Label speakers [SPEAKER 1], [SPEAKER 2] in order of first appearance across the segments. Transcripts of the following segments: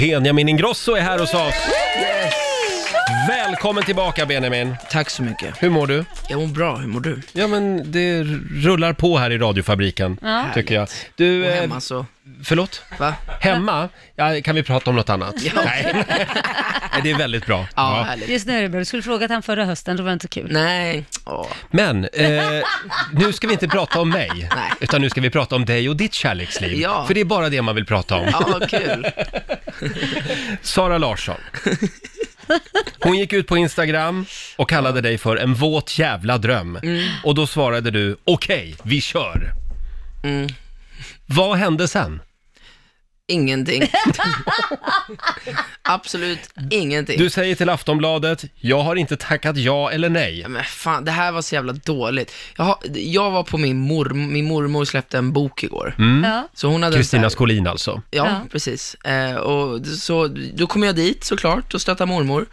[SPEAKER 1] Benjamin Ingrosso är här hos oss. Välkommen tillbaka Benjamin.
[SPEAKER 2] Tack så mycket.
[SPEAKER 1] Hur mår du?
[SPEAKER 2] Jag mår bra, hur mår du?
[SPEAKER 1] Ja men det rullar på här i radiofabriken,
[SPEAKER 3] Ja.
[SPEAKER 1] tycker jag. Du,
[SPEAKER 2] Och
[SPEAKER 1] eh,
[SPEAKER 2] hemma så,
[SPEAKER 1] förlåt?
[SPEAKER 2] alltså. va?
[SPEAKER 1] Hemma? Ja, kan vi prata om något annat? Nej. Nej, det är väldigt bra.
[SPEAKER 2] Ja,
[SPEAKER 1] Ja.
[SPEAKER 2] härligt.
[SPEAKER 3] Just nu, du skulle frågat han förra hösten, då var det inte så kul.
[SPEAKER 2] Nej, åh,
[SPEAKER 1] Men, eh, nu ska vi inte prata om mig,
[SPEAKER 2] Nej.
[SPEAKER 1] utan nu ska vi prata om dig och ditt kärleksliv.
[SPEAKER 2] Ja.
[SPEAKER 1] För det är bara det man vill prata om.
[SPEAKER 2] ja vad kul.
[SPEAKER 1] Sara Larsson. Hon gick ut på Instagram och kallade dig för en våt jävla dröm. Och då svarade du, okej, vi kör.
[SPEAKER 2] Mm.
[SPEAKER 1] Vad hände sen?
[SPEAKER 2] Ingenting. Absolut ingenting.
[SPEAKER 1] Du säger till Aftonbladet, jag har inte tackat ja eller nej.
[SPEAKER 2] Men fan, det här var så jävla dåligt. Jag, har, jag var på min mormor, min mormor släppte en bok igår.
[SPEAKER 3] Ja.
[SPEAKER 2] Så hon hade en så här-
[SPEAKER 1] Mm. Kristina Skolin alltså.
[SPEAKER 2] Ja,
[SPEAKER 3] Ja.
[SPEAKER 2] precis. Eh, och så, då kom jag dit såklart och stöttade mormor.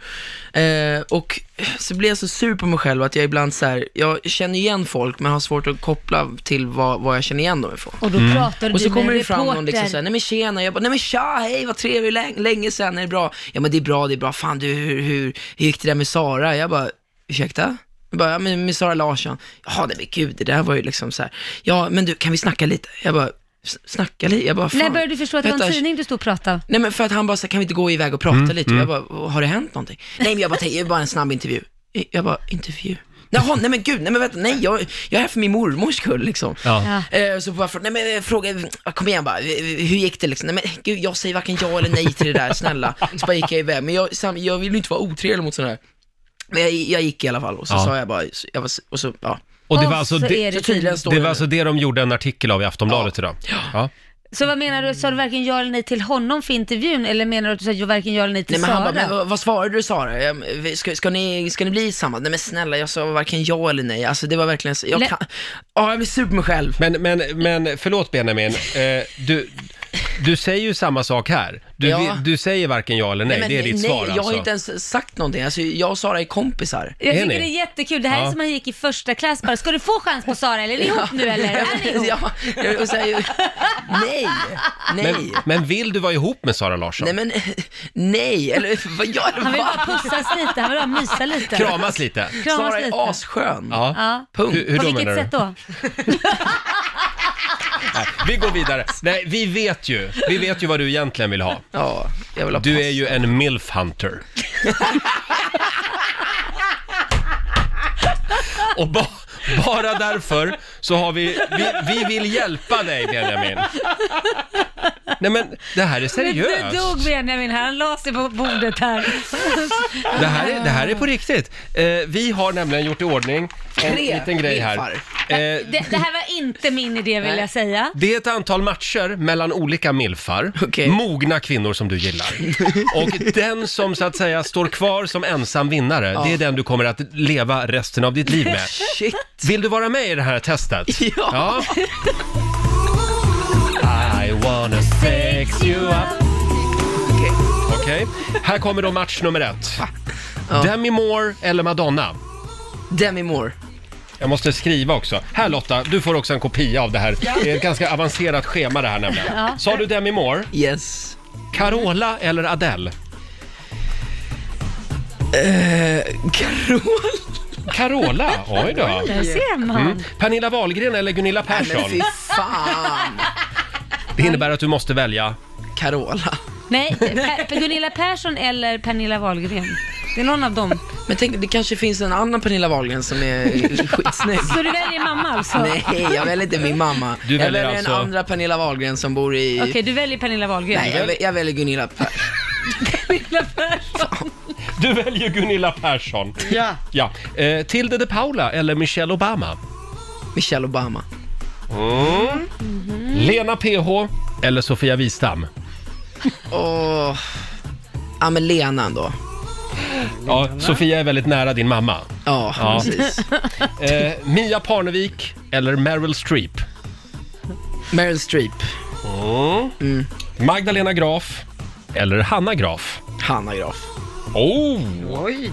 [SPEAKER 2] Eh, och så blev jag så sur på mig själv att jag ibland så här, jag känner igen folk men har svårt att koppla till vad, vad jag känner igen dem ifrån.
[SPEAKER 3] Och då pratade
[SPEAKER 2] Mm. Och så
[SPEAKER 3] du med
[SPEAKER 2] kommer
[SPEAKER 3] en
[SPEAKER 2] det fram någon liksom
[SPEAKER 3] reporter.
[SPEAKER 2] såhär, nej men tjena, jag bara, nej men tja, hej, vad trevligt, länge, länge sen, är det bra? Ja men det är bra, det är bra, fan du, hur, hur, hur gick det där med Sara? Jag bara, ursäkta? Jag bara, ja men med Sara Larsson, jaha nej men gud, det där var ju liksom så här. ja men du, kan vi snacka lite? Jag bara, "S- snacka lite? Jag bara, fan.
[SPEAKER 3] När började du förstå att det var en
[SPEAKER 2] Vänta,
[SPEAKER 3] tidning du stod och pratade om?
[SPEAKER 2] Nej men för att han bara så här, kan vi inte gå iväg och prata lite? Och Jag bara, har det hänt någonting? Nej men jag bara, det är bara en snabb intervju. Jag bara, intervju? Jaha, nej men gud, nej men vänta, nej jag, jag är här för min mormors skull liksom.
[SPEAKER 1] Ja.
[SPEAKER 2] Eh, Så bara, frå- nej men eh, fråga, eh, kom igen bara, eh, hur gick det liksom? Nej men gud, jag säger varken ja eller nej till det där, snälla. Så bara gick jag iväg, men jag, sam, jag vill ju inte vara otrevlig mot sådana här. Men jag, jag gick i alla fall och så
[SPEAKER 1] Ja.
[SPEAKER 2] sa jag bara, så- jag var, och så, ja.
[SPEAKER 1] Och det
[SPEAKER 3] Och
[SPEAKER 1] var alltså
[SPEAKER 3] så
[SPEAKER 1] det,
[SPEAKER 3] är
[SPEAKER 2] Så tydligen står
[SPEAKER 1] det,
[SPEAKER 2] nu.
[SPEAKER 1] var alltså det de gjorde en artikel av i Aftonbladet idag. Ja.
[SPEAKER 3] Så vad menar du, sa du varken ja eller nej till honom för intervjun eller menar du att du sa ju varken ja eller nej
[SPEAKER 2] Nej
[SPEAKER 3] till
[SPEAKER 2] men han
[SPEAKER 3] Sara?
[SPEAKER 2] bara, men vad, vad svarade du Sara? Jag, vi- Ska, ska, ni, ska ni bli samma? Nej men snälla, jag sa varken ja eller nej. Alltså det var verkligen, så- jag
[SPEAKER 3] Lä-
[SPEAKER 2] kan, ja jag blir sur på mig själv.
[SPEAKER 1] Men, men, men förlåt Benjamin, eh, du, du säger ju samma sak här. Du,
[SPEAKER 2] Ja.
[SPEAKER 1] vi- du säger varken ja eller nej,
[SPEAKER 2] men
[SPEAKER 1] det är ditt
[SPEAKER 2] nej,
[SPEAKER 1] svar
[SPEAKER 2] jag
[SPEAKER 1] alltså.
[SPEAKER 2] har inte ens sagt någonting. Alltså jag och Sara är kompisar.
[SPEAKER 3] jag
[SPEAKER 1] är
[SPEAKER 3] tycker
[SPEAKER 1] ni?
[SPEAKER 3] det är jättekul, det här
[SPEAKER 1] Ja.
[SPEAKER 3] är som han gick i första klass bara, ska du få chans på Sara eller är ni ihop nu eller? Är ni ihop?
[SPEAKER 2] ja, och så här, nej, nej.
[SPEAKER 1] Men, men vill du vara ihop med Sara Larsson?
[SPEAKER 2] Nej men, nej, eller vad gör du?
[SPEAKER 3] Han vill
[SPEAKER 2] Va?
[SPEAKER 3] bara pussas lite, han vill bara mysa lite.
[SPEAKER 1] Kramas lite?
[SPEAKER 3] Kramas
[SPEAKER 2] Sara
[SPEAKER 3] lite.
[SPEAKER 2] är asskön.
[SPEAKER 1] Ja.
[SPEAKER 3] Ja.
[SPEAKER 2] Punkt.
[SPEAKER 1] Hur, hur
[SPEAKER 3] på
[SPEAKER 1] då
[SPEAKER 3] vilket
[SPEAKER 1] menar
[SPEAKER 3] sätt
[SPEAKER 1] du?
[SPEAKER 3] då?
[SPEAKER 1] Nej, vi går vidare. Nej, vi vet ju. Vi vet ju vad du egentligen vill ha.
[SPEAKER 2] Ja, jag vill ha
[SPEAKER 1] Du
[SPEAKER 2] pass.
[SPEAKER 1] är ju en milf hunter. Och ba, bara därför så har vi, vi, vi vill hjälpa dig Benjamin. Nej men det här är
[SPEAKER 3] Nu dog
[SPEAKER 1] seriöst.
[SPEAKER 3] Benjamin här, han la sig på bordet här.
[SPEAKER 1] Det här är, det här är på riktigt. Eh, vi har nämligen gjort i ordning en
[SPEAKER 2] Tre
[SPEAKER 1] liten grej här.
[SPEAKER 2] milfar.
[SPEAKER 1] Eh,
[SPEAKER 3] Det, det här var inte min idé vill
[SPEAKER 2] Nej.
[SPEAKER 3] jag säga.
[SPEAKER 1] Det är ett antal matcher mellan olika milfar,
[SPEAKER 2] Okej.
[SPEAKER 1] mogna kvinnor som du gillar. Och den som så att säga står kvar som ensam vinnare, det är den du kommer att leva resten av ditt liv med.
[SPEAKER 2] Shit.
[SPEAKER 1] Vill du vara med i det här testet?
[SPEAKER 2] Ja.
[SPEAKER 1] I wanna sex you up.
[SPEAKER 2] Okej.
[SPEAKER 1] Okej, här kommer då match nummer ett. Demi Moore eller Madonna?
[SPEAKER 2] Demi Moore.
[SPEAKER 1] Jag måste skriva också. Här Lotta, du får också en kopia av det här. Det är ett ganska avancerat schema det här nämligen.
[SPEAKER 3] Ja.
[SPEAKER 1] Sa du Demi Moore?
[SPEAKER 2] Yes.
[SPEAKER 1] Carola eller Adele?
[SPEAKER 2] Eh, Carola.
[SPEAKER 1] Carola? Oj då. Mm.
[SPEAKER 3] Där ser man.
[SPEAKER 1] Pernilla Wahlgren eller Gunilla
[SPEAKER 2] Men
[SPEAKER 1] Persson?
[SPEAKER 2] fy fan.
[SPEAKER 1] Det innebär att du måste välja.
[SPEAKER 2] Carola.
[SPEAKER 3] Nej, per, Gunilla Persson eller Pernilla Wahlgren. Det är någon av dem.
[SPEAKER 2] Men tänk, det kanske finns en annan Pernilla Wahlgren som är skitsnygg.
[SPEAKER 3] Så du väljer mamma alltså?
[SPEAKER 2] Nej, jag väljer inte min mamma.
[SPEAKER 1] Du
[SPEAKER 2] jag
[SPEAKER 1] väljer
[SPEAKER 2] väljer
[SPEAKER 1] alltså-
[SPEAKER 2] den andra Pernilla Wahlgren som bor i...
[SPEAKER 3] Okej, du väljer Pernilla Wahlgren.
[SPEAKER 2] Nej, jag, vä- jag väljer Gunilla Persson.
[SPEAKER 3] Pernilla Persson.
[SPEAKER 1] Du väljer Gunilla Persson. Ja. ja. Eh, Tilde de Paula eller Michelle Obama?
[SPEAKER 2] Michelle Obama.
[SPEAKER 1] Lena PH eller Sofia Wistam?
[SPEAKER 2] Åh... Ja, men Lena ändå.
[SPEAKER 1] Ja, Sofia är väldigt nära din mamma.
[SPEAKER 2] Ja,
[SPEAKER 1] Ja.
[SPEAKER 2] precis.
[SPEAKER 1] Eh, Mia Parnevik eller Meryl Streep?
[SPEAKER 2] Meryl Streep.
[SPEAKER 1] Magdalena Graf eller Hanna Graf?
[SPEAKER 2] Hanna Graf.
[SPEAKER 1] Oh!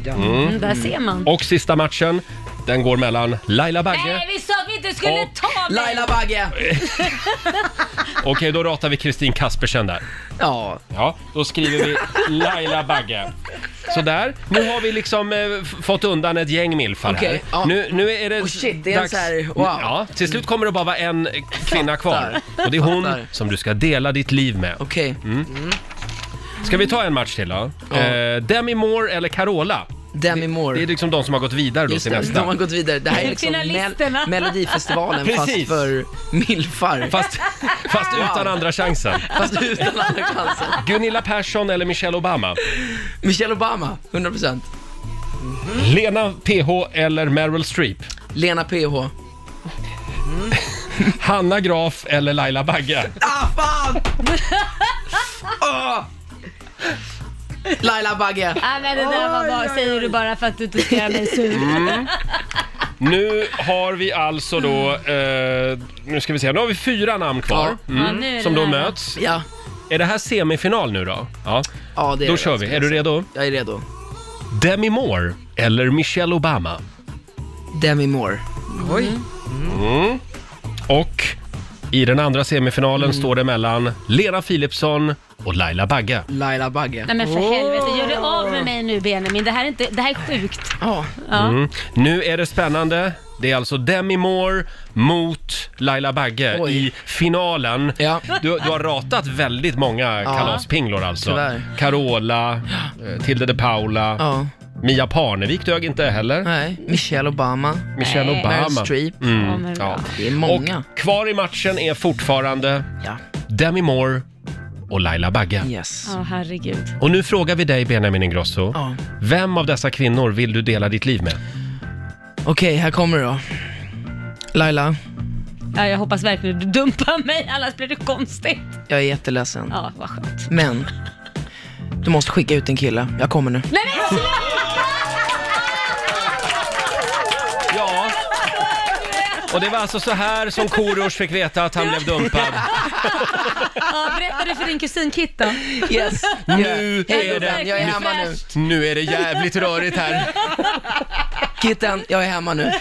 [SPEAKER 3] Mm, där ser man.
[SPEAKER 1] Och sista matchen, den går mellan Laila Bagge...
[SPEAKER 3] Nej, vi sa att vi inte du skulle
[SPEAKER 1] Och-
[SPEAKER 3] ta mig!
[SPEAKER 2] Laila Bagge!
[SPEAKER 1] Okej, då ratar vi Kristin Kaspersen där.
[SPEAKER 2] Ja,
[SPEAKER 1] Ja, då skriver vi Laila Bagge. Sådär, nu har vi liksom eh, f- fått undan ett gäng milfar här.
[SPEAKER 2] Okej, ja.
[SPEAKER 1] Nu, nu är det
[SPEAKER 2] Oh shit, det är en så här- wow.
[SPEAKER 1] Ja, till slut kommer det bara vara en eh, kvinna kvar. Och det är hon
[SPEAKER 2] Fattar.
[SPEAKER 1] som du ska dela ditt liv med.
[SPEAKER 2] okej.
[SPEAKER 1] Mm. Ska vi ta en match till då?
[SPEAKER 2] Ja.
[SPEAKER 1] Eh, Demi Moore eller Carola?
[SPEAKER 2] Demi Moore.
[SPEAKER 1] Det är liksom de som har gått vidare då
[SPEAKER 2] Just
[SPEAKER 1] till
[SPEAKER 2] det, de har
[SPEAKER 1] nästa.
[SPEAKER 2] gått vidare. Det här är
[SPEAKER 3] Det är
[SPEAKER 2] liksom
[SPEAKER 3] finalisterna.
[SPEAKER 2] mel- Melodifestivalen
[SPEAKER 1] Precis.
[SPEAKER 2] fast för milfar.
[SPEAKER 1] Fast, fast utan andra chansen.
[SPEAKER 2] Fast utan andra chansen.
[SPEAKER 1] Gunilla Persson eller Michelle Obama?
[SPEAKER 2] Michelle Obama, 100%.
[SPEAKER 1] Lena PH eller Meryl Streep?
[SPEAKER 2] Lena PH.
[SPEAKER 1] Hanna Graf eller Laila Bagge?
[SPEAKER 2] Ah, fan! Åh!
[SPEAKER 1] Ah!
[SPEAKER 2] Laila Bagge.
[SPEAKER 3] Nej men det där var bara, säger du bara för att du inte ska göra mig sur.
[SPEAKER 1] Nu har vi alltså då, eh, nu ska vi se, nu har vi fyra namn kvar. mm,
[SPEAKER 2] Ja.
[SPEAKER 3] Ja, nu är det
[SPEAKER 1] Som då
[SPEAKER 3] nära.
[SPEAKER 1] möts.
[SPEAKER 2] Ja,
[SPEAKER 1] Är det här semifinal nu då? Ja,
[SPEAKER 2] ja det är
[SPEAKER 1] då
[SPEAKER 2] det.
[SPEAKER 1] kör vi. Är du redo?
[SPEAKER 2] Jag är redo.
[SPEAKER 1] Demi Moore eller Michelle Obama?
[SPEAKER 2] Demi Moore.
[SPEAKER 4] Oj.
[SPEAKER 1] Och i den andra semifinalen står det mellan Lena Philipsson och Laila Bagge.
[SPEAKER 2] Laila Bagge.
[SPEAKER 3] Nej men för helvete, gör dig av med mig nu Benjamin. Det här är, inte, det här är sjukt.
[SPEAKER 2] Ja,
[SPEAKER 3] Ja.
[SPEAKER 1] Mm. Nu är det spännande. Det är alltså Demi Moore mot Laila Bagge
[SPEAKER 2] Oj.
[SPEAKER 1] i finalen.
[SPEAKER 2] Ja.
[SPEAKER 1] Du, du har ratat väldigt många kalaspinglor alltså.
[SPEAKER 2] tyvärr.
[SPEAKER 1] Carola, eh, Tilde de Paula,
[SPEAKER 2] ja.
[SPEAKER 1] Mia Parnevik dög inte heller.
[SPEAKER 2] Nej. Michelle Obama.
[SPEAKER 1] Michelle
[SPEAKER 3] Nej.
[SPEAKER 1] Obama. Mm.
[SPEAKER 2] Meryl Streep.
[SPEAKER 3] Ja, men
[SPEAKER 1] ja.
[SPEAKER 3] bra.
[SPEAKER 2] Det är många.
[SPEAKER 1] Och kvar i matchen är fortfarande
[SPEAKER 2] Ja.
[SPEAKER 1] Demi Moore och Laila Bagge.
[SPEAKER 2] Yes.
[SPEAKER 3] Ja, herregud.
[SPEAKER 1] Och nu frågar vi dig Benjamin Ingrosso.
[SPEAKER 2] Ja.
[SPEAKER 1] Vem av dessa kvinnor vill du dela ditt liv med?
[SPEAKER 2] Okej, här kommer det då. Laila,
[SPEAKER 3] Ja, jag hoppas verkligen du dumpar mig, annars blir det konstigt.
[SPEAKER 2] jag är jätteledsen.
[SPEAKER 3] Ja, vad skönt.
[SPEAKER 2] Men, du måste skicka ut en kille. Jag kommer nu.
[SPEAKER 3] Nej men sluta!
[SPEAKER 1] Ja. Och det var alltså så här som Korosh fick veta att han blev dumpad.
[SPEAKER 3] Ja, berätta det för din kusin Kit då.
[SPEAKER 2] Yes.
[SPEAKER 1] Nu är
[SPEAKER 2] Kitten,
[SPEAKER 1] det...
[SPEAKER 2] jag är hemma nu.
[SPEAKER 3] Fräscht.
[SPEAKER 1] Nu är det jävligt rörigt här.
[SPEAKER 2] Kitten, jag är hemma nu.